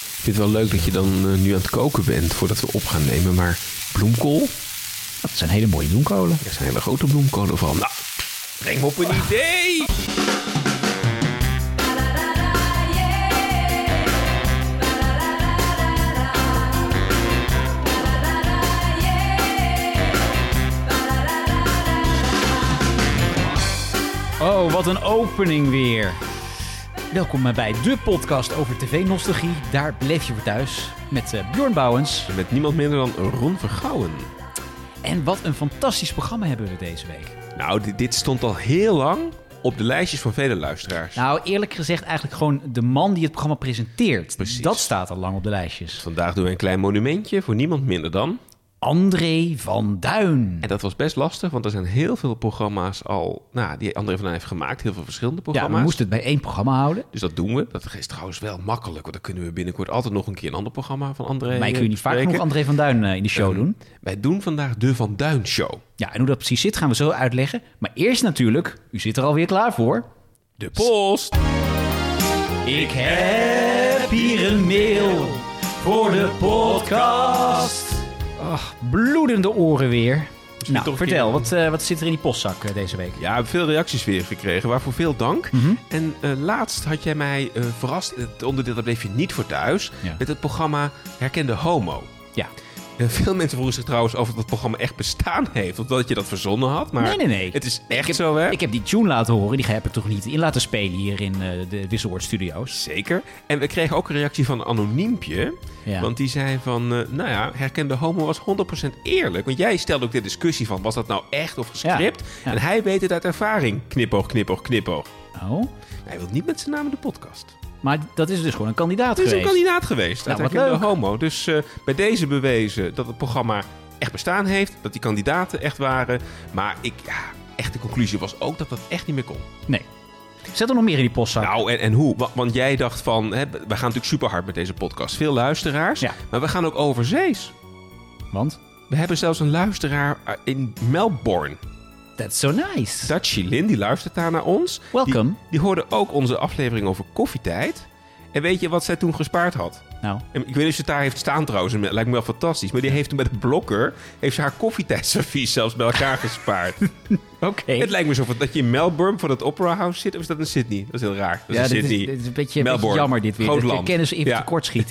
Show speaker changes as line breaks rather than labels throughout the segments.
Ik vind het wel leuk dat je dan eh, nu aan het koken bent voordat we op gaan nemen. Maar bloemkool?
Dat zijn hele mooie bloemkolen.
Er zijn hele grote bloemkolen van. Nou, breng me op een idee!
Oh, wat een opening weer. Welkom bij de podcast over tv-nostalgie. Daar bleef je voor thuis met eh, Bjorn Bouwens.
Met niemand minder dan Ron Vergouwen.
En wat een fantastisch programma hebben we deze week.
Nou, dit, dit stond al heel lang op de lijstjes van vele luisteraars.
Nou, eerlijk gezegd eigenlijk gewoon de man die het programma presenteert.
Precies.
Dat staat al lang op de lijstjes.
Vandaag doen we een klein monumentje voor niemand minder dan.
André van Duin.
En dat was best lastig, want er zijn heel veel programma's al... Nou, die André van Duin heeft gemaakt. Heel veel verschillende
Ja,
programma's.
we moesten het bij één programma houden.
Dus dat doen we. Dat is trouwens wel makkelijk, want dan kunnen we binnenkort altijd nog een keer een ander programma van André
Maar ik kun
eh,
je niet vaak
bespreken.
genoeg André van Duin eh, in de show doen.
Wij doen vandaag de Van Duin Show.
Ja, en hoe dat precies zit gaan we zo uitleggen. Maar eerst natuurlijk, u zit er alweer klaar voor.
De post.
Ik heb hier een mail voor de podcast. Ach, bloedende oren weer.
toch
Nou,
een
vertel,
keer-
wat, eh, wat zit er in die postzak eh, deze week?
Ja, we hebben veel reacties weer gekregen, waarvoor veel dank.
Mhm.
En eh, laatst had jij mij eh, verrast, het onderdeel dat bleef je niet voor thuis,
Ja.
met het programma Herkende Homo.
Ja.
Eh, veel mensen vroegen zich trouwens of dat programma echt bestaan heeft, of dat je dat verzonnen had. Maar
Nee, nee, nee.
het is
ik
echt
heb,
zo, hè?
Ik heb die tune laten horen, die heb ik toch niet in laten spelen hier in eh, de Wisselwoord Studios.
Zeker. En we kregen ook een reactie van een anoniempje.
Ja.
Want die zei van, eh, nou ja, herkende homo was 100% eerlijk. Want jij stelde ook de discussie van, was dat nou echt of gescript?
Ja, ja.
En hij weet het uit ervaring. Knipoog, knipoog, knipoog.
Oh,
Hij wil niet met zijn naam in de podcast.
maar dat is dus gewoon een kandidaat
Het is een
geweest.
kandidaat geweest uit
Nou, wat
herkende homo. Dus eh, bij deze bewezen dat het programma echt bestaan heeft. Dat die kandidaten echt waren. Maar ik, ja, echt de conclusie was ook dat dat echt niet meer kon.
Nee. Zet er nog meer in die postzak.
Nou, en, en hoe? Wa- Want jij dacht van, hè, we gaan natuurlijk super hard met deze podcast. Veel luisteraars.
Ja.
Maar we gaan ook overzees. Nou.
Want,
We hebben zelfs een luisteraar eh, in Melbourne.
that's so nice.
Dutchie Lin, die luistert daar naar ons.
Welcome.
Die, die hoorde ook onze aflevering over koffietijd. En weet je wat zij toen gespaard had?
Nou,
En Ik weet niet of ze het daar heeft staan trouwens. en Het lijkt me wel fantastisch. Maar die heeft toen met een blokker... heeft ze haar koffietijdservies zelfs bij elkaar gespaard.
oké.
Het lijkt me zo van dat je in Melbourne voor dat Opera House zit. Of is dat in Sydney? Dat is heel raar. Dat
Ja,
is in
dit is-
Sydney.
dit is een beetje- een
Melbourne.
beetje jammer dit weer.
Groot
Dat de
land.
kennis even tekortschiet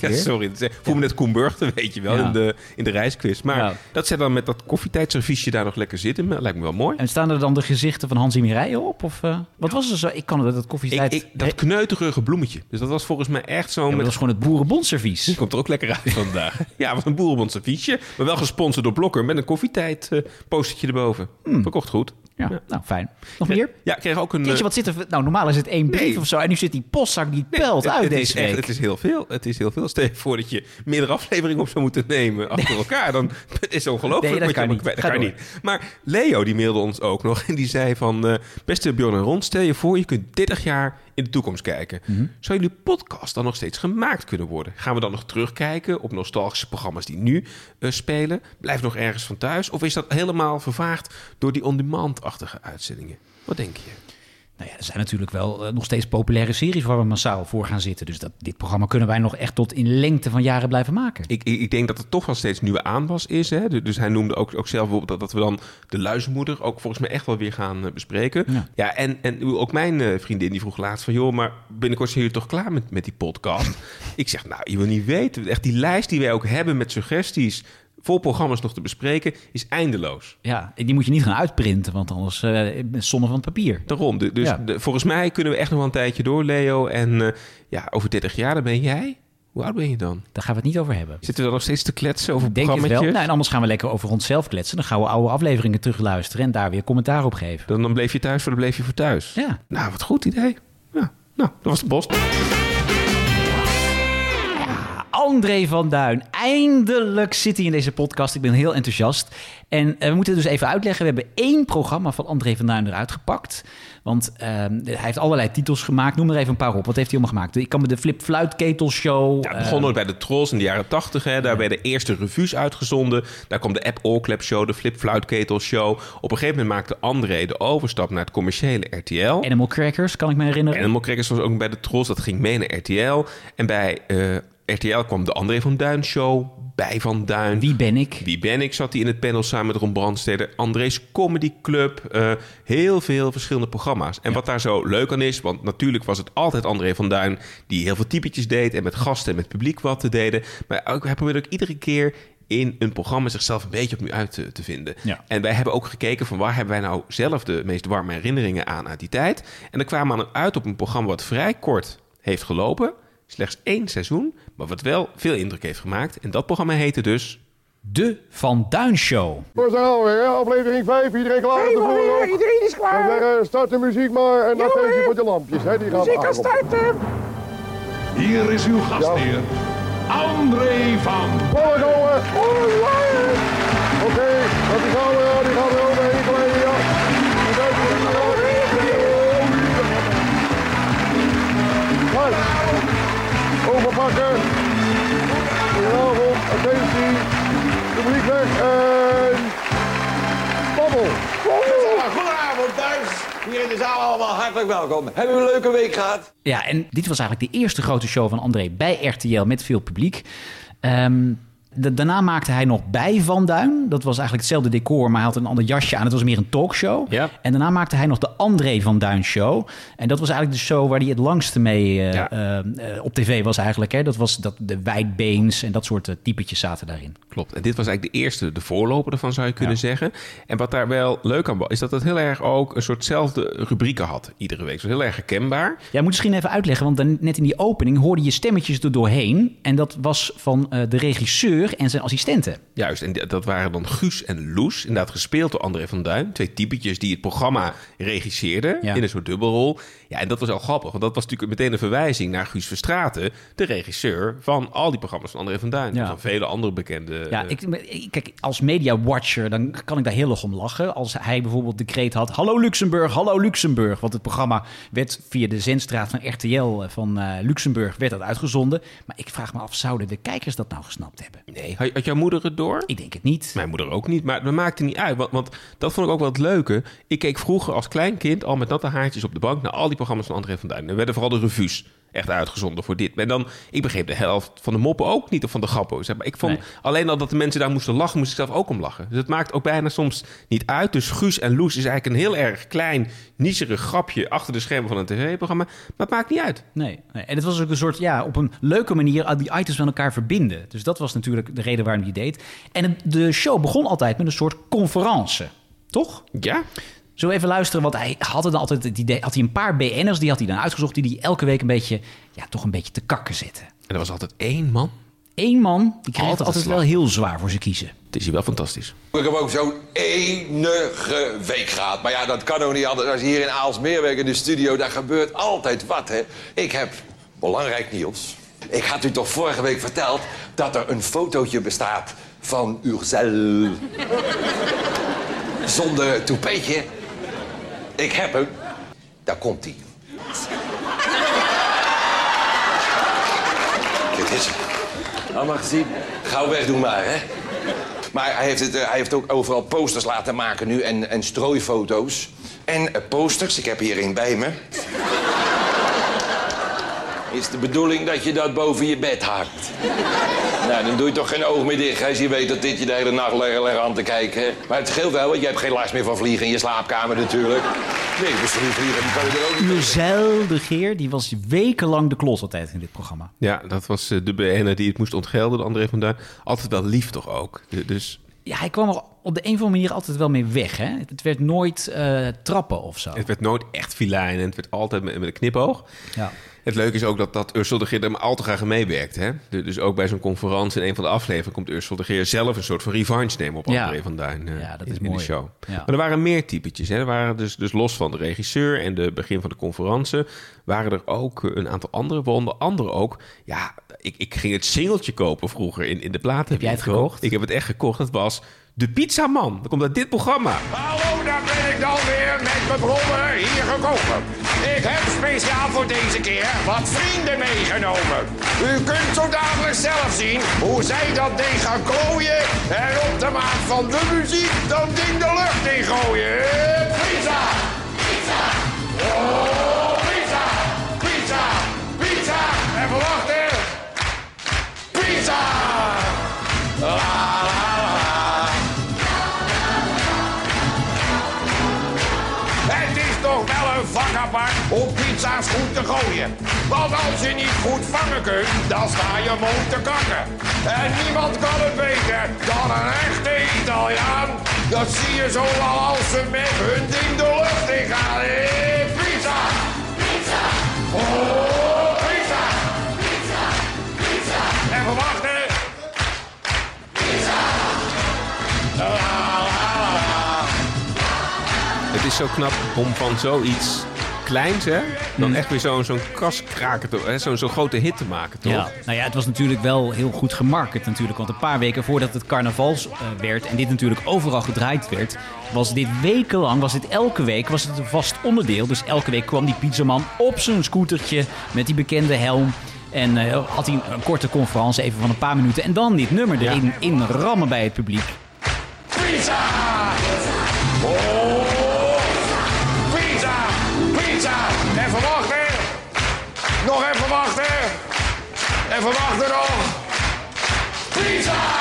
Ja,
weer.
sorry. Dat is- ik voel me net Koen Burgte, weet je wel,
Ja.
in, de, in de reisquiz. Maar
Ja.
dat zij dan met dat koffietijdserviesje daar nog lekker zitten, me- lijkt me wel mooi.
En staan er dan de gezichten van Hansi Mireille op? Of, eh, wat was er zo? Ik kan dat, dat
Ik,
koffietijd...
ik,
Hey,
dat kneuterige bloemetje. Dus dat was volgens mij echt zo...
ja, maar
met
dat was gewoon het boerenbondservies.
Die komt er ook lekker uit vandaag. ja, wat een boerenbond serviesje. Maar wel gesponsord door Blokker met een koffietijd eh, postertje erboven. Verkocht goed.
Ja, nou, fijn. Nog meer?
Ja, ik kreeg ook een...
Weet je
eh,
wat zit er... Nou, normaal is het één brief
Nee.
of zo. En nu zit die postzak die
nee,
pelt
het-
uit
het
deze
is
week.
echt, Het is heel veel. Het is heel veel. Stel je voor dat je meerdere afleveringen op zou moeten nemen achter elkaar. Dan het is ongelooflijk.
Nee, dat
wat je
kan
allemaal kwijt-
niet. Ga
Dat kan
door.
niet. Maar Leo die mailde ons ook nog. En die zei van... eh, Beste Bjorn en Ron, stel je voor je kunt 30 jaar in de toekomst kijken.
Mhm.
Zou jullie podcast dan nog steeds gemaakt kunnen worden? Gaan we dan nog terugkijken op nostalgische programma's die nu eh, spelen? Blijf nog ergens van thuis? Of is dat helemaal vervaagd door die on-demand-achtige uitzendingen? Wat denk je?
Nou ja, er zijn natuurlijk wel eh, nog steeds populaire series waar we massaal voor gaan zitten. Dus dat, dit programma kunnen wij nog echt tot in lengte van jaren blijven maken.
Ik, ik, ik denk dat er toch wel steeds nieuwe aanwas is. Hè? Du- Dus hij noemde ook, ook zelf bijvoorbeeld dat, dat we dan de luismoeder ook volgens mij echt wel weer gaan eh, bespreken. Ja,
Ja.
en, en ik bedoel, ook mijn eh, vriendin die vroeg laatst van... joh, maar binnenkort zijn jullie toch klaar met, met die podcast? ik zeg, nou, je wil niet weten. Echt die lijst die wij ook hebben met suggesties... voor programma's nog te bespreken, is eindeloos.
Ja, en die moet je niet gaan uitprinten, want anders eh zonne van het papier.
Daarom, du- dus
Ja.
de- volgens mij kunnen we echt nog wel een tijdje door, Leo. En eh, ja, over 30 jaar, dan ben jij... Hoe oud ben je dan?
Daar gaan we het niet over hebben.
Zitten we dan nog steeds te kletsen over
Denk het wel?
programma's?
Nou, en anders gaan we lekker over onszelf kletsen. Dan gaan we oude afleveringen terugluisteren en daar weer commentaar op geven.
Dan, dan bleef je thuis voor dan bleef je voor thuis.
Ja.
Nou, wat goed idee. Ja. Nou, dat was de bos.
André van Duin. Eindelijk zit hij in deze podcast. Ik ben heel enthousiast. En eh, we moeten dus even uitleggen. We hebben één programma van André van Duin eruit gepakt. Want ehm, hij heeft allerlei titels gemaakt. Noem er even een paar op. Wat heeft hij allemaal gemaakt? Ik kan me de Flip Fluitketel Show.
Ja, het
eh,
begon ooit bij de Trolls in de jaren tachtig. Daar werden de eerste revues uitgezonden. Daar kwam de App All Clap Show, de Flip Fluitketel Show. Op een gegeven moment maakte André de overstap naar het commerciële
eh,
RTL.
Animal Crackers, kan ik me herinneren.
Animal Crackers was ook bij de Trolls. Dat ging mee naar RTL. En bij eh, RTL kwam de André van Duin show bij Van Duin.
Wie ben ik?
Wie ben ik? Zat hij in het panel samen met Ron Brandsteder. André's Comedy Club. eh, heel veel verschillende programma's. En wat daar zo leuk aan is, want natuurlijk was het altijd André van Duin... die heel veel typetjes deed en met gasten en met publiek wat te deden. Maar ook, hij probeerde ook iedere keer in een programma zichzelf een beetje opnieuw uit te, te vinden.
Ja.
En wij hebben ook gekeken van waar hebben wij nou zelf de meest warme herinneringen aan uit die tijd. En dan kwamen we uit op een programma wat vrij kort heeft gelopen. Slechts één seizoen, maar wat wel veel indruk heeft gemaakt. En dat programma heette dus...
De Van Duin Show.
Voor zijn alweer, hè? aflevering 5. Iedereen klaar om te voeren op?
iedereen is
En
klaar.
zeggen, start de muziek maar en dan
Jongen.
geef je voor de lampjes, hè? Die gaan
Muziek
aan.
kan starten.
Hier is uw gastheer, André van
Volle jongen. Oké, dat is gaan we, die gaan we overheen glijden, ja. En daar is die jongen. Nice. Overpakken. Goedenavond, attentie. Publiek weg en... Babbel.
Goedenavond thuis. Hier in de zaal allemaal hartelijk welkom. Hebben we een leuke week gehad?
Ja, en dit was eigenlijk de eerste grote show van André bij RTL met veel publiek. Ehm, da- daarna maakte hij nog bij Van Duin. Dat was eigenlijk hetzelfde decor, maar hij had een ander jasje aan. Het was meer een talkshow.
Ja.
En daarna maakte hij nog de André Van Duin show. En dat was eigenlijk de show waar hij het langste mee eh,
Ja.
eh, eh, op tv was eigenlijk. Hè? Dat was dat, de wijdbeens en dat soort eh, typetjes zaten daarin.
Klopt. En dit was eigenlijk de eerste, de voorloper ervan zou je kunnen zeggen. En wat daar wel leuk aan was, is dat het heel erg ook een soortzelfde rubrieken had iedere week. Het was heel erg herkenbaar.
Jij moet misschien even uitleggen, want dan, net in die opening hoorde je stemmetjes er doorheen. En dat was van eh, de regisseur en zijn assistenten.
Juist, en d- dat waren dan Guus en Loes, inderdaad gespeeld door André van Duin. Twee typetjes die het programma regisseerden
Ja.
in een soort dubbelrol. Ja, en dat was al grappig, want dat was natuurlijk meteen een verwijzing naar Guus Verstraten, de regisseur van al die programma's van André van Duin.
Ja.
En van vele andere bekende...
Ja,
eh,
ik, maar ik- kijk, als media-watcher dan kan ik daar heel erg om lachen. Als hij bijvoorbeeld de kreet had... Hallo Luxemburg, hallo Luxemburg. Want het programma werd via de zendstraat van RTL eh, van eh, Luxemburg werd dat uitgezonden. Maar ik vraag me af, zouden de kijkers dat nou gesnapt hebben?
Nee, had, had jouw moeder het door?
Ik denk het niet.
Mijn moeder ook niet, maar dat maakte niet uit. Want, want dat vond ik ook wel het leuke. Ik keek vroeger als klein kind al met natte haartjes op de bank... naar al die programma's van André van Duin. Er werden vooral de revues echt uitgezonden voor dit. En dan, ik begreep de helft van de moppen ook niet... of van de grappen. Zeg maar. ik vond,
Nee.
Alleen al dat de mensen daar moesten lachen, moest ik zelf ook om lachen. Dus het maakt ook bijna soms niet uit. Dus Guus en Loes is eigenlijk een heel erg klein, niezerig grapje... achter de schermen van een tv-programma. Maar het maakt niet uit.
Nee, nee. En het was ook een soort, ja, op een leuke manier al die items met elkaar verbinden. Dus dat was natuurlijk de reden waarom hij het deed. En het- de show begon altijd met een soort conferentie, toch?
Ja?
Zullen we even luisteren? Want hij had dan altijd het idee, had hij een paar BN'ers, die had hij dan uitgezocht, die hij elke week een beetje, ja, toch een beetje te kakken zette.
En er was altijd één man.
Eén man, die kreeg het
Altijd
altijd
slag.
wel heel zwaar voor zijn kiezen.
Het is hier wel fantastisch.
Ik heb ook zo'n enige week gehad. Maar ja, dat kan ook niet anders. Als je hier in Aalsmeer werkt in de studio, daar gebeurt altijd wat, hè. Ik heb, belangrijk Niels, ik had u toch vorige week verteld... dat er een fotootje bestaat van Urzel. Zonder toepeetje. Ik heb hem. Daar komt hij. Dit is hem. Allemaal gezien. Gauw weg doen maar, hè. Maar hij heeft, het, eh, hij heeft ook overal posters laten maken nu en, en strooifoto's. En eh, posters, ik heb hier een bij me. Is de bedoeling dat je dat boven je bed hangt? Nou, dan doe je toch geen oog meer dicht hè, als je weet dat dit je de hele nacht leggen leggen aan te kijken. hè. Maar het scheelt wel, want je hebt geen last meer van vliegen in je slaapkamer natuurlijk. Nee, misschien vliegen kan je er ook niet
Uzel de Geer, die was wekenlang de klos altijd in dit programma.
Ja, dat was eh, de BN'er die het moest ontgelden, de André van Duin. Altijd wel lief toch ook. Du- Dus
Ja, hij kwam er op de een of andere manier altijd wel mee weg. Hè? Het werd nooit eh, trappen of zo.
het werd nooit echt filijn en het werd altijd met, met een knipoog.
Ja.
Het leuke is ook dat, dat Ursel de Geer er maar al te graag aan meewerkt. Hè? Du- Dus ook bij zo'n conferentie in een van de afleveringen... komt Ursel de Geer zelf een soort van revanche nemen op
Ja.
André van Duin. eh,
Ja, dat
in,
is
in
mooi.
de show.
Ja.
Maar er waren meer typetjes. Hè? Er waren dus, dus los van de regisseur en de begin van de conferentie... waren er ook eh, een aantal andere. Waaronder andere ook... Ja, ik, ik ging het singeltje kopen vroeger in, in de platen. Heb
jij het gekocht?
Ik heb het echt gekocht. Dat was... De Pizzaman. Dat komt uit dit programma.
Hallo, daar ben ik dan weer met mijn brommer hier gekomen. Ik heb speciaal voor deze keer wat vrienden meegenomen. U kunt zo dadelijk zelf zien hoe zij dat ding gaan klooien... en op de maat van de muziek dat ding de lucht in gooien. Pizza! Pizza! Oh, pizza! Ah, Pizza! Pizza! Even wachten! ah. om pizza's goed te gooien. Want als je niet goed vangen kunt, dan sta je mond te kakken. En niemand kan het beter dan een echte Italiaan. Dat zie je zo wel als ze met hun ding de lucht in gaan. Hey, pizza! Pizza! Oh, pizza! Pizza! Pizza! Even wachten! Pizza!
Het is zo knap om van zoiets kleins, hè,
Mm.
dan echt weer zo'n zo'n kaskraker, te- hè, zo'n zo'n grote hit te maken, toch?
Ja, nou ja, het was natuurlijk wel heel goed gemarket natuurlijk. Want een paar weken voordat het carnavals eh, werd en dit natuurlijk overal gedraaid werd, was dit wekenlang, was dit elke week, was het een vast onderdeel. Dus elke week kwam die pizzaman op zijn scootertje met die bekende helm. En eh, had hij een korte conferentie even van een paar minuten. En dan dit nummer erin in rammen bij het publiek.
Pizza! Oh! Pizza! Pizza! Even wachten! Nog even wachten! Even wachten nog! Pizza!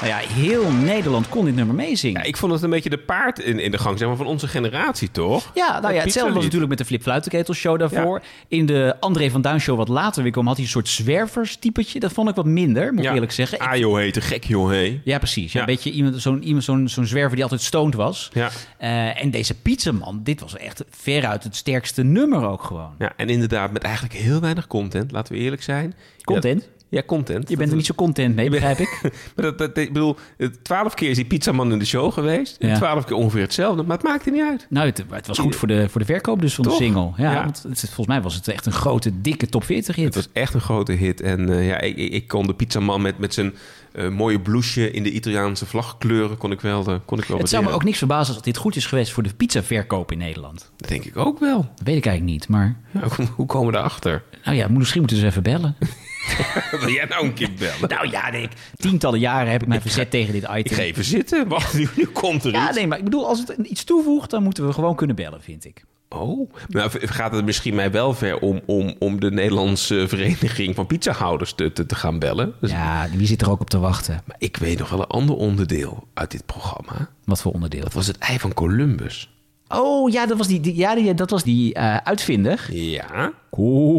Nou ja, heel Nederland kon dit nummer meezingen.
Ja, ik vond het een beetje de paard in, in de gang, zeg maar, van onze generatie, toch?
Ja, nou ja,
Het
hetzelfde was
pizzalied.
natuurlijk met de Flip Fluitenketels show daarvoor. In de André van Duin show wat later weer kwam, had hij een soort zwerverstypetje. Dat vond ik wat minder, moet ik eerlijk zeggen. Ik-
Ah joh, hé, te gek joh, hé.
ja, precies. Ja,
Ja.
Een beetje iemand, zo'n, iemand, zo'n, zo'n zwerver die altijd stoned was.
Ja.
Eh, en deze pizzaman, dit was echt veruit het sterkste nummer ook gewoon.
Ja, en inderdaad, met eigenlijk heel weinig content, laten we eerlijk zijn.
Content?
Ja, ja, content.
Je bent er niet zo content mee, begrijp ik.
maar dat, dat, ik bedoel, twaalf keer is die pizzaman in de show geweest.
Ja.
En twaalf keer ongeveer hetzelfde, maar het maakte niet uit.
Nou, het, maar het was goed voor de, voor de verkoop dus van
Toch?
de single. Ja,
Ja.
Want het, volgens mij was het echt een grote, dikke top 40 hit.
Het was echt een grote hit. En eh, ja, ik, ik, ik kon de pizzaman met, met zijn eh, mooie blouseje in de Italiaanse vlagkleuren, kon ik wel, eh, kon ik wel
het zou me
waarderen.
ook niks verbazen als dit goed is geweest voor de pizzaverkoop in Nederland.
Dat denk ik ook wel.
Dat weet ik eigenlijk niet, maar...
Ja, hoe- hoe komen we daarachter?
Nou ja, moet- misschien moeten ze even bellen.
Wil jij nou een keer bellen?
nou ja, nee, ik, tientallen jaren heb ik mij verzet tegen dit item.
Ik ga even zitten. Wacht, nu, nu komt er
ja,
iets.
nee, maar ik bedoel, als het iets toevoegt, dan moeten we gewoon kunnen bellen, vind ik.
Oh, nou v- gaat het misschien mij wel ver om, om, om de Nederlandse Vereniging van Pizzahouders te, te, te gaan bellen. Dus-
Ja, wie zit er ook op te wachten?
Maar ik weet nog wel een ander onderdeel uit dit programma.
Wat voor onderdeel?
Dat was het ei van Columbus.
Oh ja, dat was die, die- ja, die, dat was die eh, uitvinder.
Ja.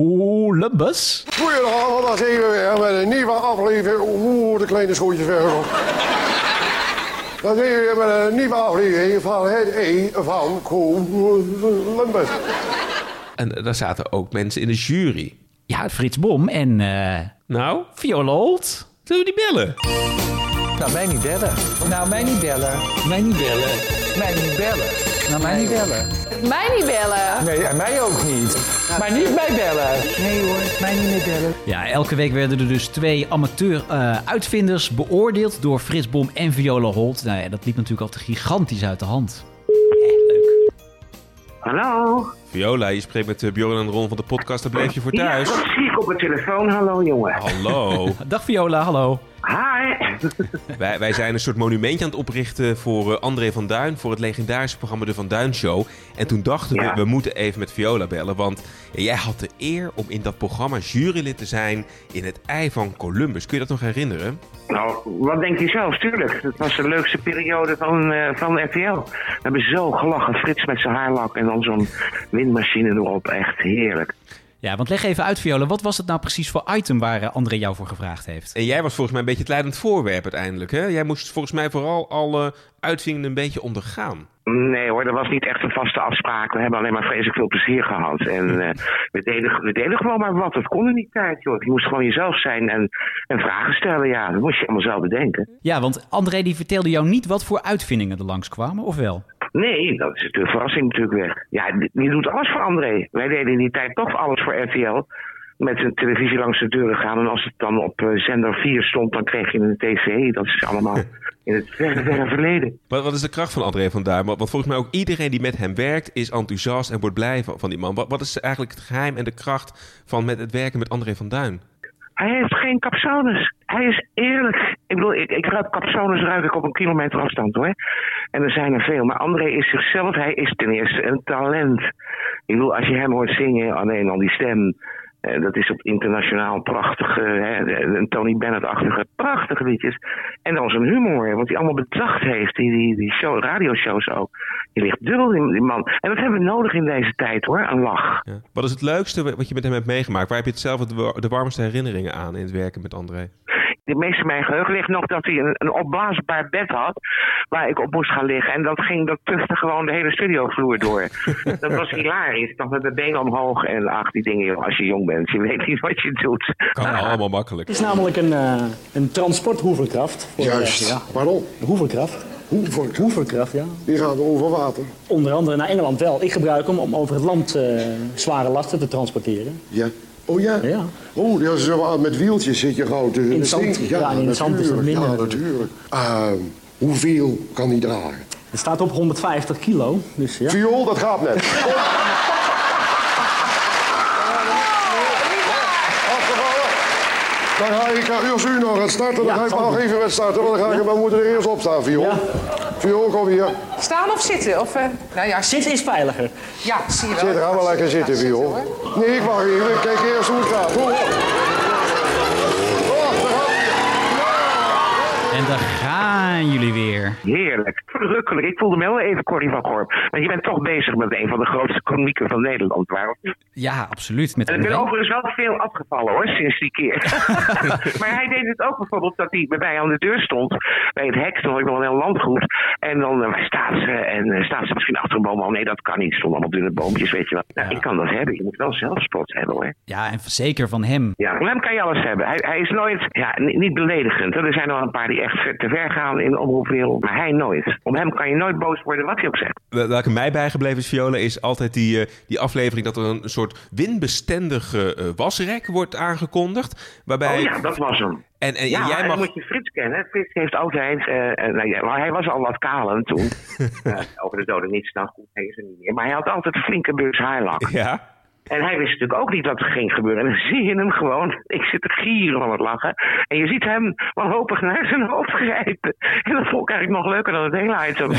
Columbus.
Goedenavond, daar zijn we weer met een nieuwe aflevering. Oeh, de kleine schoentjes weer. Daar zijn we weer met een nieuwe aflevering van het E van Columbus.
En eh, daar zaten ook mensen in de jury.
Ja, Frits Bom en eh
Nou,
Viola Holt.
zullen we die bellen?
Nou, mij niet bellen. Nou, mij niet bellen. Mij niet bellen. Mij niet bellen. Nou, mij niet bellen.
Mij niet bellen.
Nee, en mij ook niet. Maar niet mij bellen. Nee hoor, mij niet meer bellen.
Ja, elke week werden er dus twee amateur-uitvinders beoordeeld door Frits Bom en Viola Holt. Nou ja, dat liep natuurlijk altijd gigantisch uit de hand.
Hallo?
Viola, je spreekt met eh, Bjorn en Ron van de podcast. Daar bleef je voor thuis.
Ja, dat zie ik op mijn telefoon. Hallo, jongen.
Hallo.
Dag Viola, hallo.
Hi.
Wij, wij zijn een soort monumentje aan het oprichten voor eh, André van Duin. Voor het legendarische programma De Van Duin Show. En toen dachten
Ja.
we, we moeten even met Viola bellen. Want eh, jij had de eer om in dat programma jurylid te zijn in het ei van Columbus. Kun je dat nog herinneren?
Nou, wat denk je zelf? Tuurlijk. Het was de leukste periode van, eh, van RTL. We hebben zo gelachen. Frits met zijn haarlak en dan zo'n windmachine erop. Echt heerlijk.
Ja, want leg even uit Viola, wat was het nou precies voor item waar eh, André jou voor gevraagd heeft?
En jij was volgens mij een beetje het leidend voorwerp uiteindelijk. Hè? Jij moest volgens mij vooral alle uitvingen een beetje ondergaan.
Nee hoor, dat was niet echt een vaste afspraak. We hebben alleen maar vreselijk veel plezier gehad. En eh, we, deden, we deden gewoon maar wat. Dat kon er niet tijd, joh. Je moest gewoon jezelf zijn en, en vragen stellen. Ja, dat moest je allemaal zelf bedenken.
Ja, want André die vertelde jou niet wat voor uitvindingen er langskwamen, of wel?
Nee, dat is de verrassing natuurlijk weg. Ja, je doet alles voor André. Wij deden in die tijd toch alles voor RTL. Met een televisie langs de deuren gaan. En als het dan op eh, zender 4 stond, dan kreeg je een tv. Dat is allemaal in het verre, verre verleden.
Wat, wat is de kracht van André van Duin? Want, want volgens mij ook iedereen die met hem werkt is enthousiast en wordt blij van, van die man. Wat, wat is eigenlijk het geheim en de kracht van met het werken met André van Duin?
Hij heeft geen capsones. Hij is eerlijk. Ik bedoel, ik, ik ruik capsones ruik ik op een kilometer afstand hoor. En er zijn er veel. Maar André is oh zichzelf. Hij is ten eerste een talent. Ik bedoel, als je hem hoort zingen, alleen al die stem. Eh, dat is op internationaal prachtige, hè, een Tony Bennett-achtige, prachtige liedjes. En dan zijn humor, wat hij allemaal bedacht heeft, die, die, die show, radioshows ook. Die ligt dubbel, die, die man. En dat hebben we nodig in deze tijd hoor, een lach.
Ja. Wat is het leukste wa- wat je met hem hebt meegemaakt? Waar heb je het zelf het wa- de warmste herinneringen aan in het werken met André?
De meeste in mijn geheugen ligt nog dat hij een, een opblaasbaar bed had. Waar ik op moest gaan liggen. En dat ging, dat tufte gewoon de hele studiovloer door. dat was hilarisch. Dan met de benen omhoog en ach, die dingen, joh, als je jong bent, je weet niet wat je doet.
Kan allemaal makkelijk.
Het is namelijk een, eh een transporthoeverkracht. Voor, eh,
Juist.
ja.
Waarom?
Hoeverkracht.
Hoeverkracht.
Hoeverkracht, ja.
Die gaat over water.
Onder andere naar Engeland wel. Ik gebruik hem om over het land eh, zware lasten te transporteren.
Ja. Oh ja?
Ja.
Oh, ja, ze zeggen, met wieltjes zit je gewoon tussen.
In
de
zand.
dingen.
Ja, en in het zand is dat
natuurlijk.
minder
Ja, natuurlijk. Ehm, hoeveel kan die dragen?
Het staat op 150 kilo. Dus ja.
Viool, dat gaat net. Afgevallen. Dan ga ik eh, aan Ursuno gaan starten. Dan
Ja,
ga ik
zal
nog
doen.
even gaan starten. want Dan ga ik, we moeten er eerst op staan, Viool.
Ja.
Viool, kom hier.
Staan of zitten? Of, eh, nou ja,
Zit is veiliger.
Ja, zie je wel.
Zit, ga maar lekker zitten, Viool. Nee, ik mag even. Ik kijk eerst hoe het gaat. Kom op. Oh, daar gaat hij.
En daar gaan jullie weer.
Heerlijk, verrukkelijk. Ik voelde me wel even Corrie van Gorp. Want je bent toch bezig met een van de grootste komieken van Nederland. Waarom?
Ja, absoluut. Met
En ik ben
André.
overigens wel veel afgevallen hoor, sinds die keer. maar hij deed het ook bijvoorbeeld dat hij bij mij aan de deur stond. Bij het hek, toen had ik nog een heel landgoed. En dan eh, waar staat ze en eh, staat ze misschien achter een boom. Oh nee, dat kan niet. Stonden allemaal dunne boompjes, weet je wel. Nou, ik kan dat hebben. Je moet wel zelfspot hebben hoor.
Ja, en zeker van hem.
Ja, van hem kan je alles hebben. Hij, hij is nooit, ja, ni- niet beledigend. hè. Er zijn al een paar die echt ver- te ver gaan in de omroepwereld. Maar hij nooit. Om hem kan je nooit boos worden wat hij ook zegt.
Wel- Welke mij bijgebleven is, Viola, is altijd die, eh, die aflevering dat er een soort windbestendige eh, wasrek wordt aangekondigd. Waarbij,
Oh ja, dat was hem.
en, en,
Ja,
jij
en
mag...
dan moet je Frits kennen. Frits heeft altijd. eh, eh, nou ja, maar hij was al wat kalen toen. Eh, over de doden niets, nou goed, hij is er niet meer. Maar hij had altijd een flinke beurs haarlak.
Ja,
En hij wist natuurlijk ook niet wat er ging gebeuren. En dan zie je hem gewoon. Ik zit te gieren van het lachen. En je ziet hem wanhopig naar zijn hoofd grijpen. En dat vond ik eigenlijk nog leuker dan het hele item.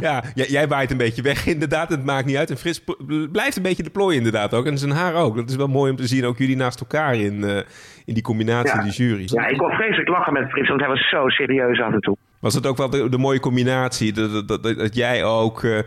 ja jij, jij waait een beetje weg inderdaad. Het maakt niet uit. En Frits pl- blijft een beetje de plooi inderdaad ook. En zijn haar ook. Dat is wel mooi om te zien. Ook jullie naast elkaar in, eh, in die combinatie
Ja.
in die jury.
Ja, ik kon vreselijk lachen met Frits, want hij was zo serieus af en toe.
Was het ook wel de, de mooie combinatie? Dat, dat, dat, dat jij ook eh, eh,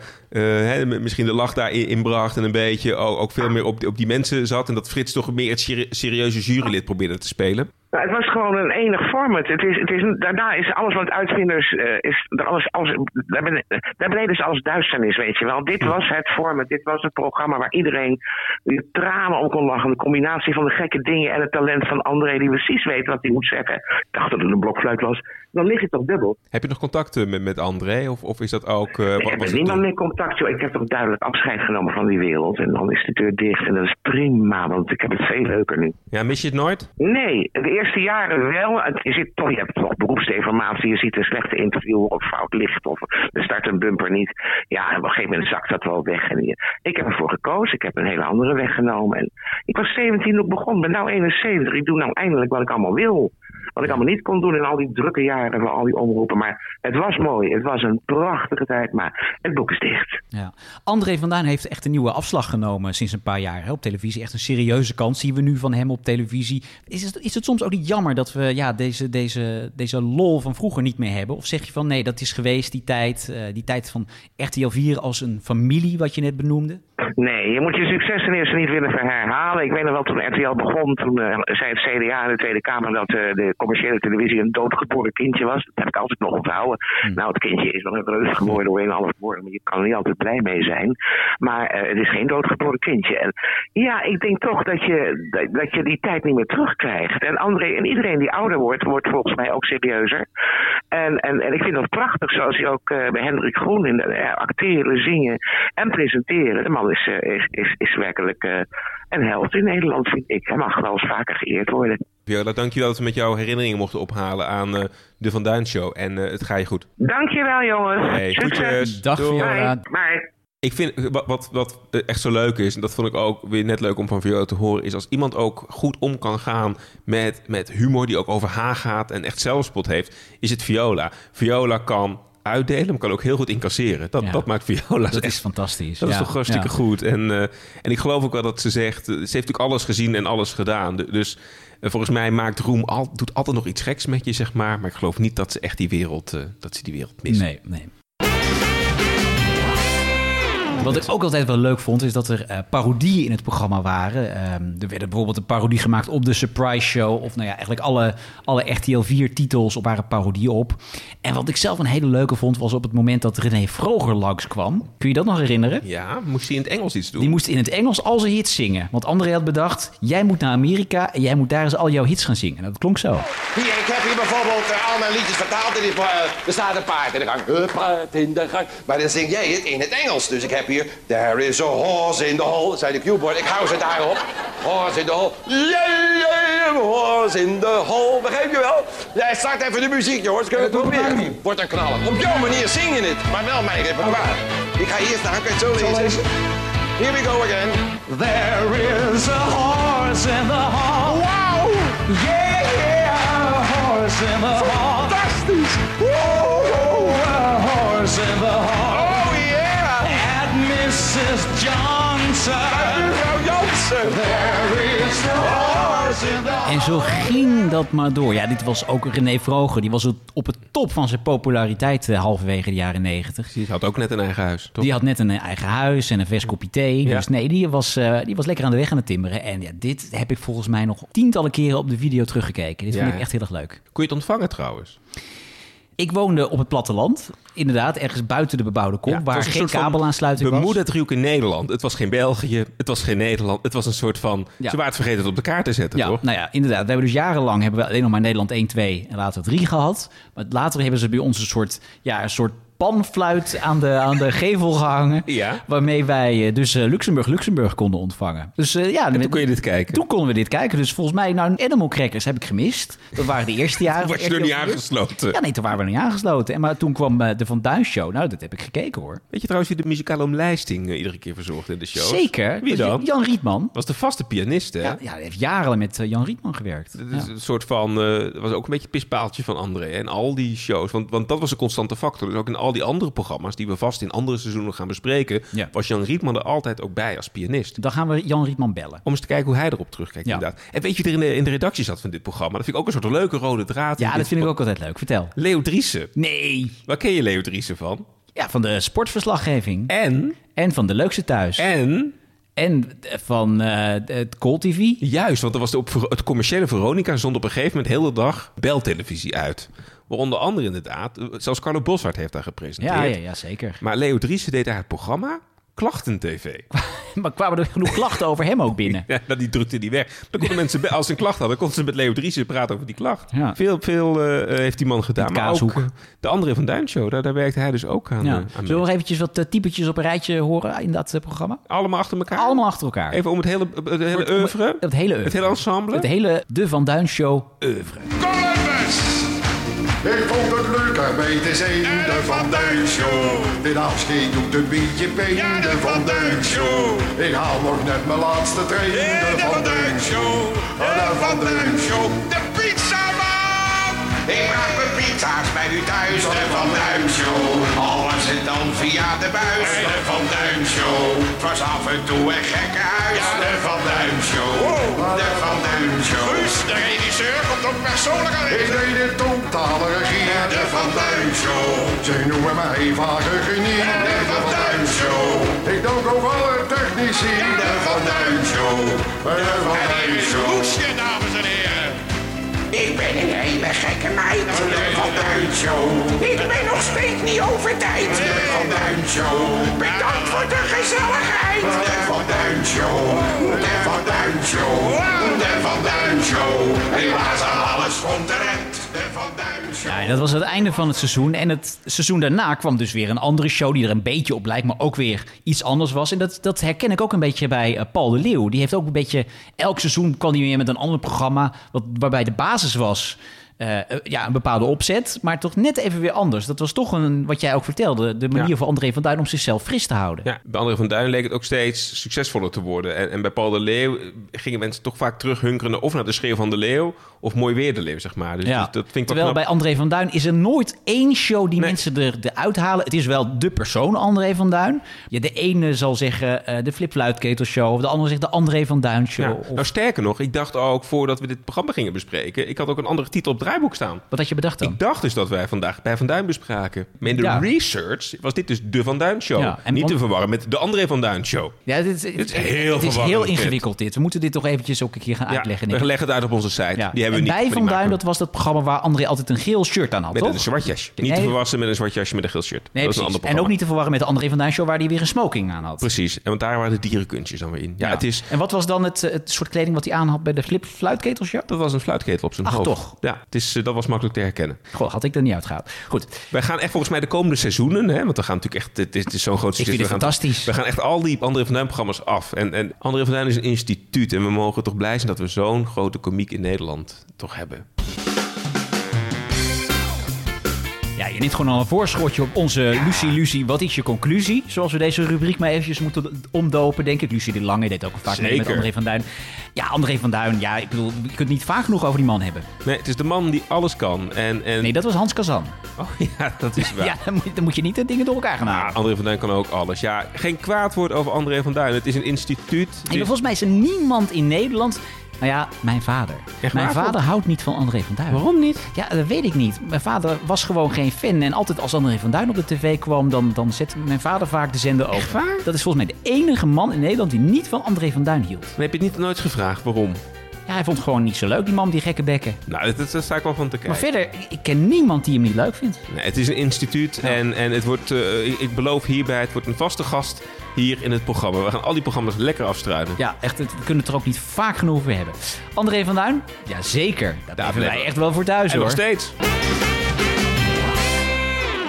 hè, m- misschien de lach daarin in bracht en een beetje ook, ook veel meer op, die- op die mensen zat. En dat Frits toch meer het seri- serieuze jurylid probeerde te spelen.
Nou, het was gewoon een enig format. Het is, het is, daarna is alles wat uitvinders. eh, is, er alles, alles, daar, ben, daar beneden is alles duisternis, weet je wel. Dit was het format. Dit was het programma waar iedereen die tranen om kon lachen. De combinatie van de gekke dingen en het talent van André, die precies weet wat hij moet zeggen. Ik dacht dat het een blokfluit was. Dan lig je toch dubbel.
Heb je nog contacten met, met André? Of, of is dat ook... eh,
Ik
wa-
heb
was
met
het
niemand
toen?
meer contact, joh. Ik heb toch duidelijk afscheid genomen van die wereld. En dan is de deur dicht. En dat is prima, want ik heb het veel leuker nu.
Ja, mis je het nooit?
Nee, de eerste jaren wel. Het- Je, zit toch, je hebt toch beroepsdeformatie, je ziet een slechte interview of fout licht of er start een bumper niet. Ja, en op een gegeven moment zakt dat wel weg. En je- ik heb ervoor gekozen, ik heb een hele andere weg genomen. En ik was 17 toen ik begon, ben nou 71. Ik doe nou eindelijk wat ik allemaal wil. Wat ik allemaal niet kon doen in al die drukke jaren van al die omroepen. Maar het was mooi, het was een prachtige tijd, maar het boek is dicht.
Ja. André van Duin heeft echt een nieuwe afslag genomen sinds een paar jaar hè, op televisie. Echt een serieuze kans zien we nu van hem op televisie. Is het, is het soms ook niet jammer dat we ja, deze, deze, deze lol van vroeger niet meer hebben? Of zeg je van nee, dat is geweest die tijd. eh, die tijd van RTL 4 als een familie, wat je net benoemde.
Nee, je moet je succes ten eerste niet willen herhalen. Ik weet nog wel, toen RTL begon, toen eh, zei het CDA in de Tweede Kamer dat eh, de commerciële televisie een doodgeboren kindje was. Dat heb ik altijd nog onthouden. Nou, het kindje is nog een reus geworden door een en ander woord, maar je kan er niet altijd blij mee zijn. Maar eh, het is geen doodgeboren kindje. En ja, ik denk toch dat je, dat, dat je die tijd niet meer terugkrijgt. En André en iedereen die ouder wordt, wordt volgens mij ook serieuzer. En, en, en ik vind dat prachtig, zoals hij ook eh, bij Hendrik Groen in de- eh, acteren, zingen en presenteren. De man is, eh, is, is, is werkelijk eh, een held in Nederland, vind ik. Hij mag wel eens vaker geëerd worden.
Viola, dankjewel dat we met jou herinneringen mochten ophalen aan eh, de Van Duin Show. En eh, het ga je goed.
Dankjewel, jongens.
Hey, groetjes.
Dag,
Doei.
Viola.
Bye. Bye.
Ik vind eh, wat, wat, wat eh, echt zo leuk is, en dat vond ik ook weer net leuk om van Viola te horen, is als iemand ook goed om kan gaan met, met humor die ook over haar gaat en echt zelfspot heeft, is het Viola. Viola kan uitdelen, maar kan ook heel goed incasseren. Dat, dat maakt Viola
Dat
echt-
is fantastisch.
Dat is
ja.
toch hartstikke
Ja.
goed. En, eh, en ik geloof ook wel dat ze zegt... eh, ze heeft natuurlijk alles gezien en alles gedaan. Du- Dus eh, volgens mij maakt Roem... Al, doet altijd nog iets geks met je, zeg maar. Maar ik geloof niet dat ze echt die wereld... eh, dat ze die wereld mist.
Nee, nee. Wat ik ook altijd wel leuk vond, is dat er eh, parodieën in het programma waren. Ehm, er werd bijvoorbeeld een parodie gemaakt op de Surprise Show. Of nou ja, eigenlijk alle, alle RTL 4-titels waren parodieën op. En wat ik zelf een hele leuke vond, was op het moment dat René Vroger langskwam. Kun je dat nog herinneren?
Ja, moest hij in het Engels iets doen?
Die moest in het Engels al zijn hits zingen. Want André had bedacht, jij moet naar Amerika en jij moet daar eens al jouw hits gaan zingen. En dat klonk zo.
Hier, ik heb hier bijvoorbeeld eh, al mijn liedjes vertaald. En die, eh, er staat een paard in de gang. Een paard in de gang. Maar dan zing jij het in het Engels. Dus ik heb hier... There is a horse in the hole, zei de cueboard. Ik hou ze daarop. Horse in the hole. Yeah, yeah, horse in the hole. Begrijp je wel? Jij start even de muziek, jongens. Kunnen we het proberen? Wordt een knallen. Op jouw manier zing je het. Maar wel mijn repertoire. Ik ga hier staan. Kan je het zo lezen? Here we go again. There is a horse in the hole. Wow! Yeah, yeah, a horse in the hole. Fantastisch! Woo! A horse in the hole. Oh yeah! At Mrs. Johnson. Johnson. There is a horse in the
En zo ging dat maar door. Ja, dit was ook René Vroger. Die was op- op het top van zijn populariteit eh, halverwege de jaren negentig.
Die had ook net een eigen huis, toch?
Die had net een eh, eigen huis en een vers kopje thee.
Ja.
Dus nee, die was, eh, die was lekker aan de weg aan het timmeren. En ja, dit heb ik volgens mij nog tientallen keren op de video teruggekeken. Dit
Ja,
vind ik
hè?
echt heel erg leuk.
Kun je het ontvangen trouwens?
Ik woonde op het platteland. Inderdaad, ergens buiten de bebouwde kom.
Ja, het
waar
was een
geen
soort van
kabelaansluiting was.
Bemoed het driehoek in Nederland. Het was geen België. Het was geen Nederland. Het was een soort van...
Ja.
Ze waren het vergeten het op de kaart te zetten,
Ja,
toch?
nou ja, inderdaad. We hebben dus jarenlang hebben we alleen nog maar Nederland 1, 2 en later 3 gehad. Maar later hebben ze bij ons een soort, ja, een soort panfluit aan de, aan de gevel gehangen.
Ja.
Waarmee wij eh, dus eh, Luxemburg, Luxemburg konden ontvangen. Dus eh, ja,
En toen kon je dit kijken.
toen konden we dit kijken. Dus volgens mij, nou, Animal Crackers heb ik gemist. Dat waren de eerste jaren.
Toen was je
van
er niet
RTL vier.
aangesloten.
Ja, nee, toen waren we er niet aangesloten. En maar toen kwam eh, de Van Duin Show. Nou, dat heb ik gekeken hoor.
Weet je trouwens wie de muzikale omlijsting eh, iedere keer verzorgde in de show?
Zeker.
Wie
Dat is
dan?
Jan Rietman.
Was de vaste pianist, hè?
Ja, ja, hij heeft jarenlang met eh, Jan Rietman gewerkt.
Het
Ja.
is Een soort van, eh, dat was ook een beetje het pispaaltje van André. hè, En al die shows, want, want dat was een constante factor. Dus ook in al die andere programma's die we vast in andere seizoenen gaan bespreken,
Ja.
was Jan Rietman er altijd ook bij als pianist.
Dan gaan we Jan Rietman bellen.
Om eens te kijken hoe hij erop terugkijkt,
Ja.
inderdaad. En weet je wie er in de, in de redactie zat van dit programma? Dat vind ik ook een soort leuke rode draad. in
Ja,
dit
dat vind ik
pro-
ook altijd leuk. Vertel.
Leo Driessen.
Nee.
Waar ken je Leo Driessen van?
Ja, van de sportverslaggeving.
En,
En van de leukste thuis. En,
en,
eh, van eh, het Call TV.
Juist, want er was de op, het commerciële Veronica zond op een gegeven moment heel de dag beltelevisie uit. Waar onder andere inderdaad, eh, zelfs Carlo Boswaard heeft daar gepresenteerd.
Ja, ja, ja, zeker.
Maar Leo Driessen deed daar het programma Klachten TV.
Maar kwamen er genoeg klachten over hem ook binnen?
Ja, dat die drukte die weg. Dan konden mensen, be- als ze een klacht hadden, konden ze met Leo Driessen praten over die klacht.
Ja.
Veel, veel eh, eh, heeft die man gedaan.
Met
Maar ook
kaashoek.
eh, de André van Duin show, daar, daar werkte hij dus ook aan. eh,
Ja.
aan
Zullen we
mee.
nog eventjes wat eh, typetjes op een rijtje horen in dat eh, programma?
Allemaal achter elkaar?
Allemaal achter elkaar.
Even om het hele, het hele
Om- om-
oeuvre?
Het hele
Het hele ensemble?
Het hele De Van Duin Show oeuvre.
Columbus!
Ik vond het leuk erbij te zijn, de Van Duin Show. Dit afscheid doet een beetje pijn,
Ja,
de Van Duin Show. Ik haal nog net mijn laatste trein, de
De
Van
Van
Duin
Dijk Show!
De
De
Van
Van
Duin
Dijk Show! De pizzaman!
Ik maak mijn pizza's bij u thuis, de Van Duim Show. Al was het dan via de buis, de Van Duim Show. Het was af en toe een gekke huis, de Van Duim Show. De Van Duim Show.
De regisseur komt ook persoonlijk aan
Ik
deze.
deed de totale regie,
De Van Duim Show.
Ze noemen mij vage genie,
De Van Duim Show.
Ik dank ook alle technici,
De Van Duim Show.
de Van
En hier
Duin
is
Show.
Roesje, dames en heren.
Ik ben een hele gekke meid, de Van Duim Show. Ik ben nog steeds niet over tijd, de Van Duim Show. Bedankt voor de gezelligheid, de Van Duim Show. De Van Duim Show, de Van Duim Show. Helaas aan alles stond de rent, de Van Duim Show.
Ja, dat was het einde van het seizoen. En het seizoen daarna kwam dus weer een andere show die er een beetje op lijkt, maar ook weer iets anders was. En dat, dat herken ik ook een beetje bij eh, Paul de Leeuw. Die heeft ook een beetje, elk seizoen kwam hij weer met een ander programma, wat, waarbij de basis was eh, eh, ja, een bepaalde opzet, maar toch net even weer anders. Dat was toch een, wat jij ook vertelde, de manier
Ja.
van André van Duin om zichzelf fris te houden.
Ja, bij André van Duin leek het ook steeds succesvoller te worden. En, en bij Paul de Leeuw eh, gingen mensen toch vaak terughunkeren... naar of naar de schreeuw van de Leeuw of mooi weer de Leeuw, zeg maar. Dus,
Ja.
dus dat vind ik wel
Terwijl
knap.
bij André van Duin is er nooit één show die mensen er, eruit halen. Het is wel de persoon André van Duin. Ja, de ene zal zeggen eh de Flip Luitketelshow... of de andere zegt de André van Duin Show.
Ja.
Of-
Nou, sterker nog, ik dacht ook voordat we dit programma gingen bespreken... ik had ook een andere titel op het draaiboek staan.
Wat had je bedacht dan?
Ik dacht dus dat wij vandaag bij Van Duin bespraken. Maar in de
Ja.
research was dit dus de Van Duin Show.
Ja, en Ah,
Niet
on-
te verwarren met de André van Duin Show.
Ja, dit,
is heel
Het is
verwarrend,
heel
dit.
ingewikkeld dit. We moeten dit toch eventjes ook een keer gaan
Ja,
uitleggen.
we
Nick.
leggen het uit op onze site.
Ja.
Die hebben
en
we niet.
bij
maar die
Van Duin,
maken we.
dat was dat programma waar André altijd een geel shirt aan had,
Met
toch?
een zwart jasje. Niet te
Nee.
verwassen met een zwart jasje met een geel shirt.
Nee,
dat is een
precies.
ander
En ook
programma.
niet te verwarren met de André van Duin Show... waar hij weer een smoking aan had.
Precies. En want daar waren de dierenkunstjes dan weer in. Ja,
Ja.
het is...
En wat was dan het, eh, het soort kleding wat hij aan had bij de Flip Fluitketelshow?
Dat was een fluitketel op zijn
Ach,
hoofd.
toch?
Ja, het is, eh, dat was makkelijk te herkennen.
Goh, had ik er niet uitgehaald. Goed.
Wij gaan echt volgens mij de komende seizoenen... Hè, want we gaan natuurlijk echt... Het is, het is zo'n groot
Ik
succes.
vind het
we gaan,
fantastisch.
We gaan echt al die André van Duin programma's af. En, en André van Duin is een instituut. En we mogen toch blij zijn dat we zo'n grote komiek in Nederland toch hebben.
Ja, je neemt gewoon al een voorschotje op onze Lucie Lucie. Wat is je conclusie? Zoals we deze rubriek maar eventjes moeten omdopen, denk ik. Lucie de Lange deed ook vaak mee met
Zeker.
André van Duin. Ja, André van Duin. Ja, ik bedoel, je kunt niet vaak genoeg over die man hebben.
Nee, het is de man die alles kan. En, en...
Nee, dat was Hans Kazan.
Oh ja, dat is
Ja,
waar.
dan, moet, je- dan moet je niet de dingen door elkaar gaan
Ah,
halen.
André van Duin kan ook alles. Ja, geen kwaad woord over André van Duin. Het is een instituut. dus- Het
Nee,
is-
maar volgens mij is er niemand in Nederland... Nou ja, mijn vader.
Echt
mijn
waar?
vader houdt niet van André van Duin.
Waarom niet?
Ja, dat weet ik niet. Mijn vader was gewoon geen fan. En altijd als André van Duin op de tv kwam, dan, dan zette mijn vader vaak de zender open.
waar?
Dat is volgens mij de enige man in Nederland die niet van André van Duin hield.
Maar heb je het niet nooit gevraagd waarom?
Ja, hij vond het gewoon niet zo leuk, die man, die gekke bekken.
Nou, dat, dat sta ik wel van te kijken.
Maar verder, ik- ik ken niemand die hem niet leuk vindt.
Nee, het is een instituut en, en het wordt, eh, ik- ik beloof hierbij, het wordt een vaste gast hier in het programma. We gaan al die programma's lekker afstruinen.
Ja, echt, het- we kunnen het er ook niet vaak genoeg over hebben. André van Duin? Ja, zeker. Daar blijven
blijven
wij
we.
echt wel voor thuis,
en nog
hoor.
steeds.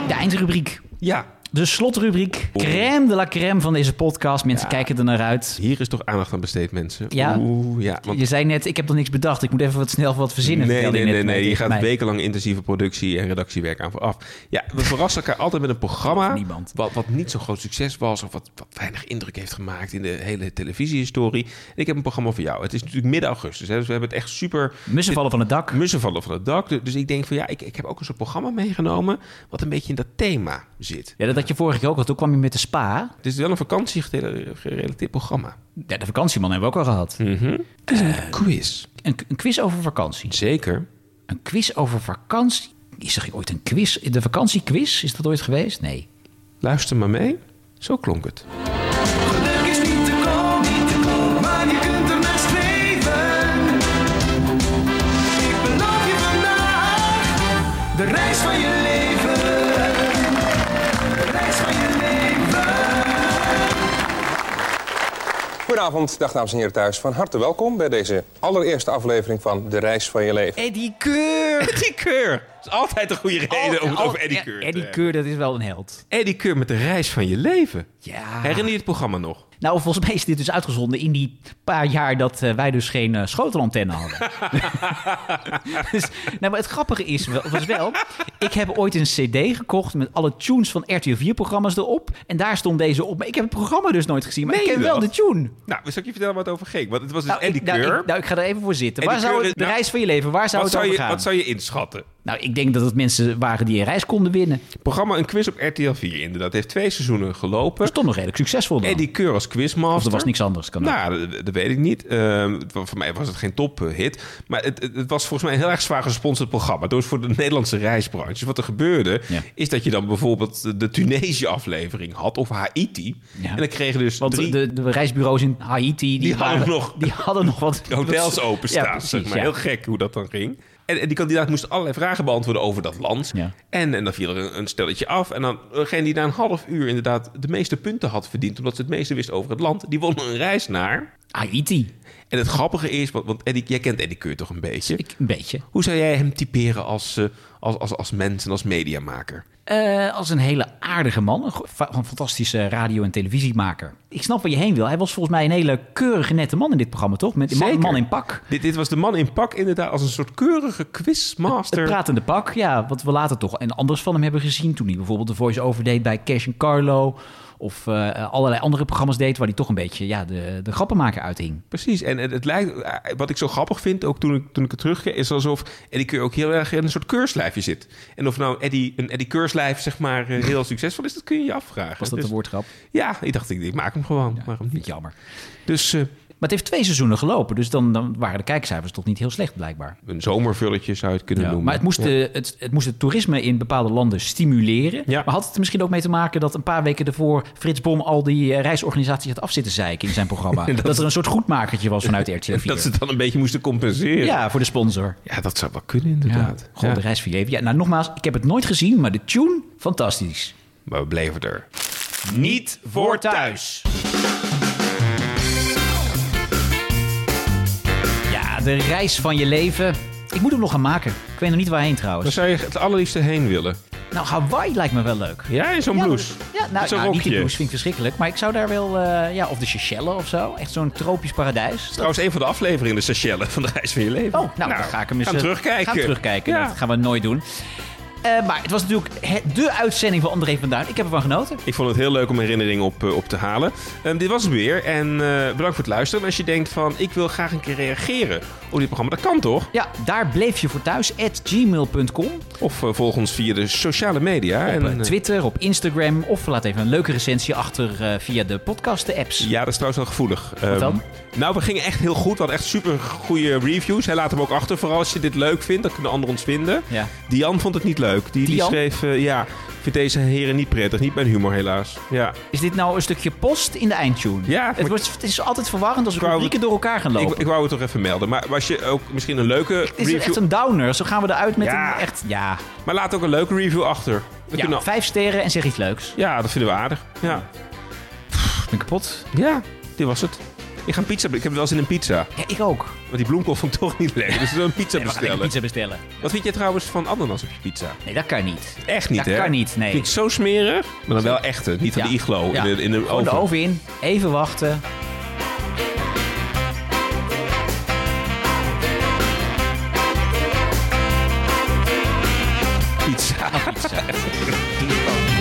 De eindrubriek.
Ja.
De slotrubriek. Crème de la crème van deze podcast. Mensen kijken er naar uit.
Hier is toch aandacht aan besteed, mensen.
Ja.
Oeh, ja. Want
Je zei net, ik heb nog niks bedacht. Ik moet even wat snel wat verzinnen.
nee,
vertelde
nee,
je
nee,
net eh,
nee. Je
tegen
gaat
mij.
wekenlang intensieve productie en redactiewerk aan vooraf. Ja, we verrassen elkaar altijd met een programma.
Niemand.
Wat, wat niet zo'n groot succes was. Of wat, wat weinig indruk heeft gemaakt in de hele televisiehistorie. En ik heb een programma voor jou. Het is natuurlijk midden augustus. Hè, dus we hebben het echt super.
Mussen vallen van het dak.
Mussen vallen van het dak. Dus ik denk van ja, ik, ik heb ook een soort programma meegenomen. wat een beetje in dat thema zit.
Ja, dat had je vorige keer ook al. Toen kwam je met de spa.
Het is wel een vakantiegerelateerd programma.
Ja, de vakantieman hebben we ook al gehad.
Hm. Quiz.
Een, een quiz over vakantie.
Zeker.
Een quiz over vakantie? Is er ooit een quiz? De vakantiequiz? Is dat ooit geweest? Nee.
Luister maar mee. Zo klonk het.
Geluk is niet te koop, niet te koop, maar je kunt er naar streven. Ik beloof je vandaag de reis van je leven. De reis van je leven.
Goedenavond, dag dames en heren thuis. Van harte welkom bij deze allereerste aflevering van De Reis van Je Leven.
Eddie Keur! Oh,
Eddie Keur. Dat is altijd een goede reden om het over Eddie Keur te
Eddie
hebben.
Keur, dat is wel een held.
Eddie Keur met de reis van je leven.
Ja.
Herinner je het programma nog?
Nou, volgens mij is dit dus uitgezonden in die paar jaar dat eh, wij dus geen eh, schotelantenne hadden. dus, nou, maar het grappige is wel, was wel, ik heb ooit een cd gekocht met alle tunes van RTL4-programma's erop. En daar stond deze op. Maar ik heb het programma dus nooit gezien, maar
Meen
ik ken
je
wel
dat?
de tune.
Nou, zal ik je vertellen waar het over ging? Want het was dus
Nou,
Eddie
ik, nou,
Keur.
ik, nou, ik ga er even voor zitten.
Eddie
waar zou
Keur
het,
is-
de
nou,
reis van je leven, waar zou
wat,
het
zou
over
je,
gaan?
wat zou je inschatten?
Nou, ik denk dat het mensen waren die een reis konden winnen.
Het programma Een Quiz op RTL 4 inderdaad. Heeft twee seizoenen gelopen.
Dat is toch nog redelijk succesvol dan.
Eddie Keur als
of
quizmaster.
er was niks anders. Kan ook.
Nou, dat, dat weet ik niet. Ehm, het wa- voor mij was het geen tophit. Maar het, het, het was volgens mij een heel erg zwaar gesponsord programma. Dus voor de Nederlandse reisbranche. Dus wat er gebeurde,
Ja.
is dat je dan bijvoorbeeld de Tunesië-aflevering had. Of Haiti.
Ja.
En dan kregen dus
Want
drie
de, de reisbureaus in Haiti... Die,
Die hadden
waren-
nog-
Die hadden nog wat...
hotels openstaan.
Ja, precies,
zeg maar.
ja.
Heel gek hoe dat dan ging. En, en die kandidaat moest allerlei vragen beantwoorden over dat land.
Ja.
En, en dan viel er een, een stelletje af. En dan degene die na een half uur inderdaad de meeste punten had verdiend... omdat ze het meeste wist over het land, die won een reis naar...
Haiti,
En het grappige is, want, want Eddie, jij kent Eddie Keur toch een beetje?
ik, een beetje.
Hoe zou jij hem typeren als, eh, als, als, als mens en als mediamaker?
eh, als een hele aardige man. Een, go- fa- een fantastische radio- en televisiemaker. Ik snap waar je heen wil. Hij was volgens mij een hele keurige, nette man in dit programma, toch? Met een man,
Zeker.
man in pak.
Dit, dit was de man in pak inderdaad als een soort keurige quizmaster.
Het pratende pak, ja, wat we later toch en anders van hem hebben gezien. Toen hij bijvoorbeeld de voice-over deed bij Cash en Carlo. Of eh, allerlei andere programma's deed waar hij toch een beetje ja, de, de grappenmaker uithing.
Precies, en het, het lijkt, eh, wat ik zo grappig vind, ook toen ik, toen ik het terugkeer, is alsof Eddie Keur ook heel erg in een soort keurslijfje zit. En of nou Eddie, een Eddie Keurslijf zeg maar eh, heel succesvol is, dat kun je je afvragen.
Was dat
Dus-
een woordgrap?
Ja, ik dacht, ik, ik maak hem gewoon. Waarom niet?
Jammer.
Dus,
maar het heeft twee seizoenen gelopen, dus dan, dan waren de kijkcijfers toch niet heel slecht blijkbaar.
Een zomervulletje zou je het kunnen
Ja,
noemen.
maar het moest,
Ja.
de, het, het moest het toerisme in bepaalde landen stimuleren. Maar had het er misschien ook mee te maken dat een paar weken daarvoor Frits Bom al die eh, reisorganisatie had afzitten zeiken in zijn programma? dat,
Dat-
er een soort goedmakertje was vanuit de RTL 4.
Dat ze het dan een beetje moesten compenseren.
Ja, voor de sponsor.
Ja, dat zou wel kunnen inderdaad.
Ja, gewoon de reis van je leven. Ja, nou nogmaals, ik heb het nooit gezien, maar de tune, fantastisch.
Maar we bleven er. Niet voor thuis.
Ja, de reis van je leven. Ik moet hem nog gaan maken. Ik weet nog niet waarheen trouwens.
Waar zou je het allerliefste heen willen?
Nou, Hawaii lijkt me wel leuk.
Ja, in zo'n
Ja,
blouse.
Ja, nou,
Met zo'n
nou, niet die
rokje.
blouse vind ik verschrikkelijk. Maar ik zou daar wel... eh, ja, of de Seychelles of zo. Echt zo'n tropisch paradijs.
Trouwens, een van de afleveringen, de Seychelles van de reis van je leven.
Oh, nou, dan ga ik hem eens...
gaan
eh,
terugkijken.
Gaan we terugkijken.
Ja.
Dat gaan we nooit doen. Eh, maar het was natuurlijk het- de uitzending van André van Duin. Ik heb ervan genoten.
Ik vond het heel leuk om herinneringen op, eh, op te halen. Ehm, dit was het weer. En eh, bedankt voor het luisteren. En als je denkt van, ik wil graag een keer reageren op dit programma. Dat kan toch?
Ja, daar bleef je voor thuis. At gmail.com.
Of eh, volg ons via de sociale media.
Op
en,
eh,
eh,
Twitter, op Instagram. Of laat even een leuke recensie achter eh, via de podcast-apps.
Ja, dat is trouwens wel gevoelig. Ehm,
dan?
Nou, we gingen echt heel goed. We hadden echt super goede reviews. Hij laat hem ook achter. Vooral als je dit leuk vindt, dan kunnen anderen ons vinden.
Ja.
Dian vond het niet leuk. Die, die
Dian?
schreef, eh, ja, vind deze heren niet prettig. Niet mijn humor, helaas. Ja.
Is dit nou een stukje post in de eindtune?
Ja,
Het, wordt, het is altijd verwarrend als
wou
rubrieken door elkaar gaan
Ik,
lopen.
ik wou het toch even melden. Maar was je ook misschien een leuke
Het is
review?
echt een downer. Zo gaan we eruit met
Ja.
een echt... Ja,
Maar laat ook een leuke review achter. We
ja
kunnen-
vijf sterren en zeg iets leuks.
ja, dat vinden we aardig. Ja.
Ik ben kapot.
ja, dit was het. Ik ga een pizza... Ik heb wel eens in een pizza.
Ja, ik ook.
Want die bloemkool vond ik toch niet lekker. Dus we zullen een pizza
Nee, we gaan
bestellen.
lekker pizza bestellen.
Wat vind jij trouwens van ananas op je pizza?
Nee, dat kan niet.
Echt niet,
dat
hè?
kan niet, nee.
Vind ik zo smerig. Maar dan wel echte. Niet van
Ja.
de iglo
Ja.
in de, in de
Gewoon
oven.
de oven in. Even wachten.
Pizza.
Pizza.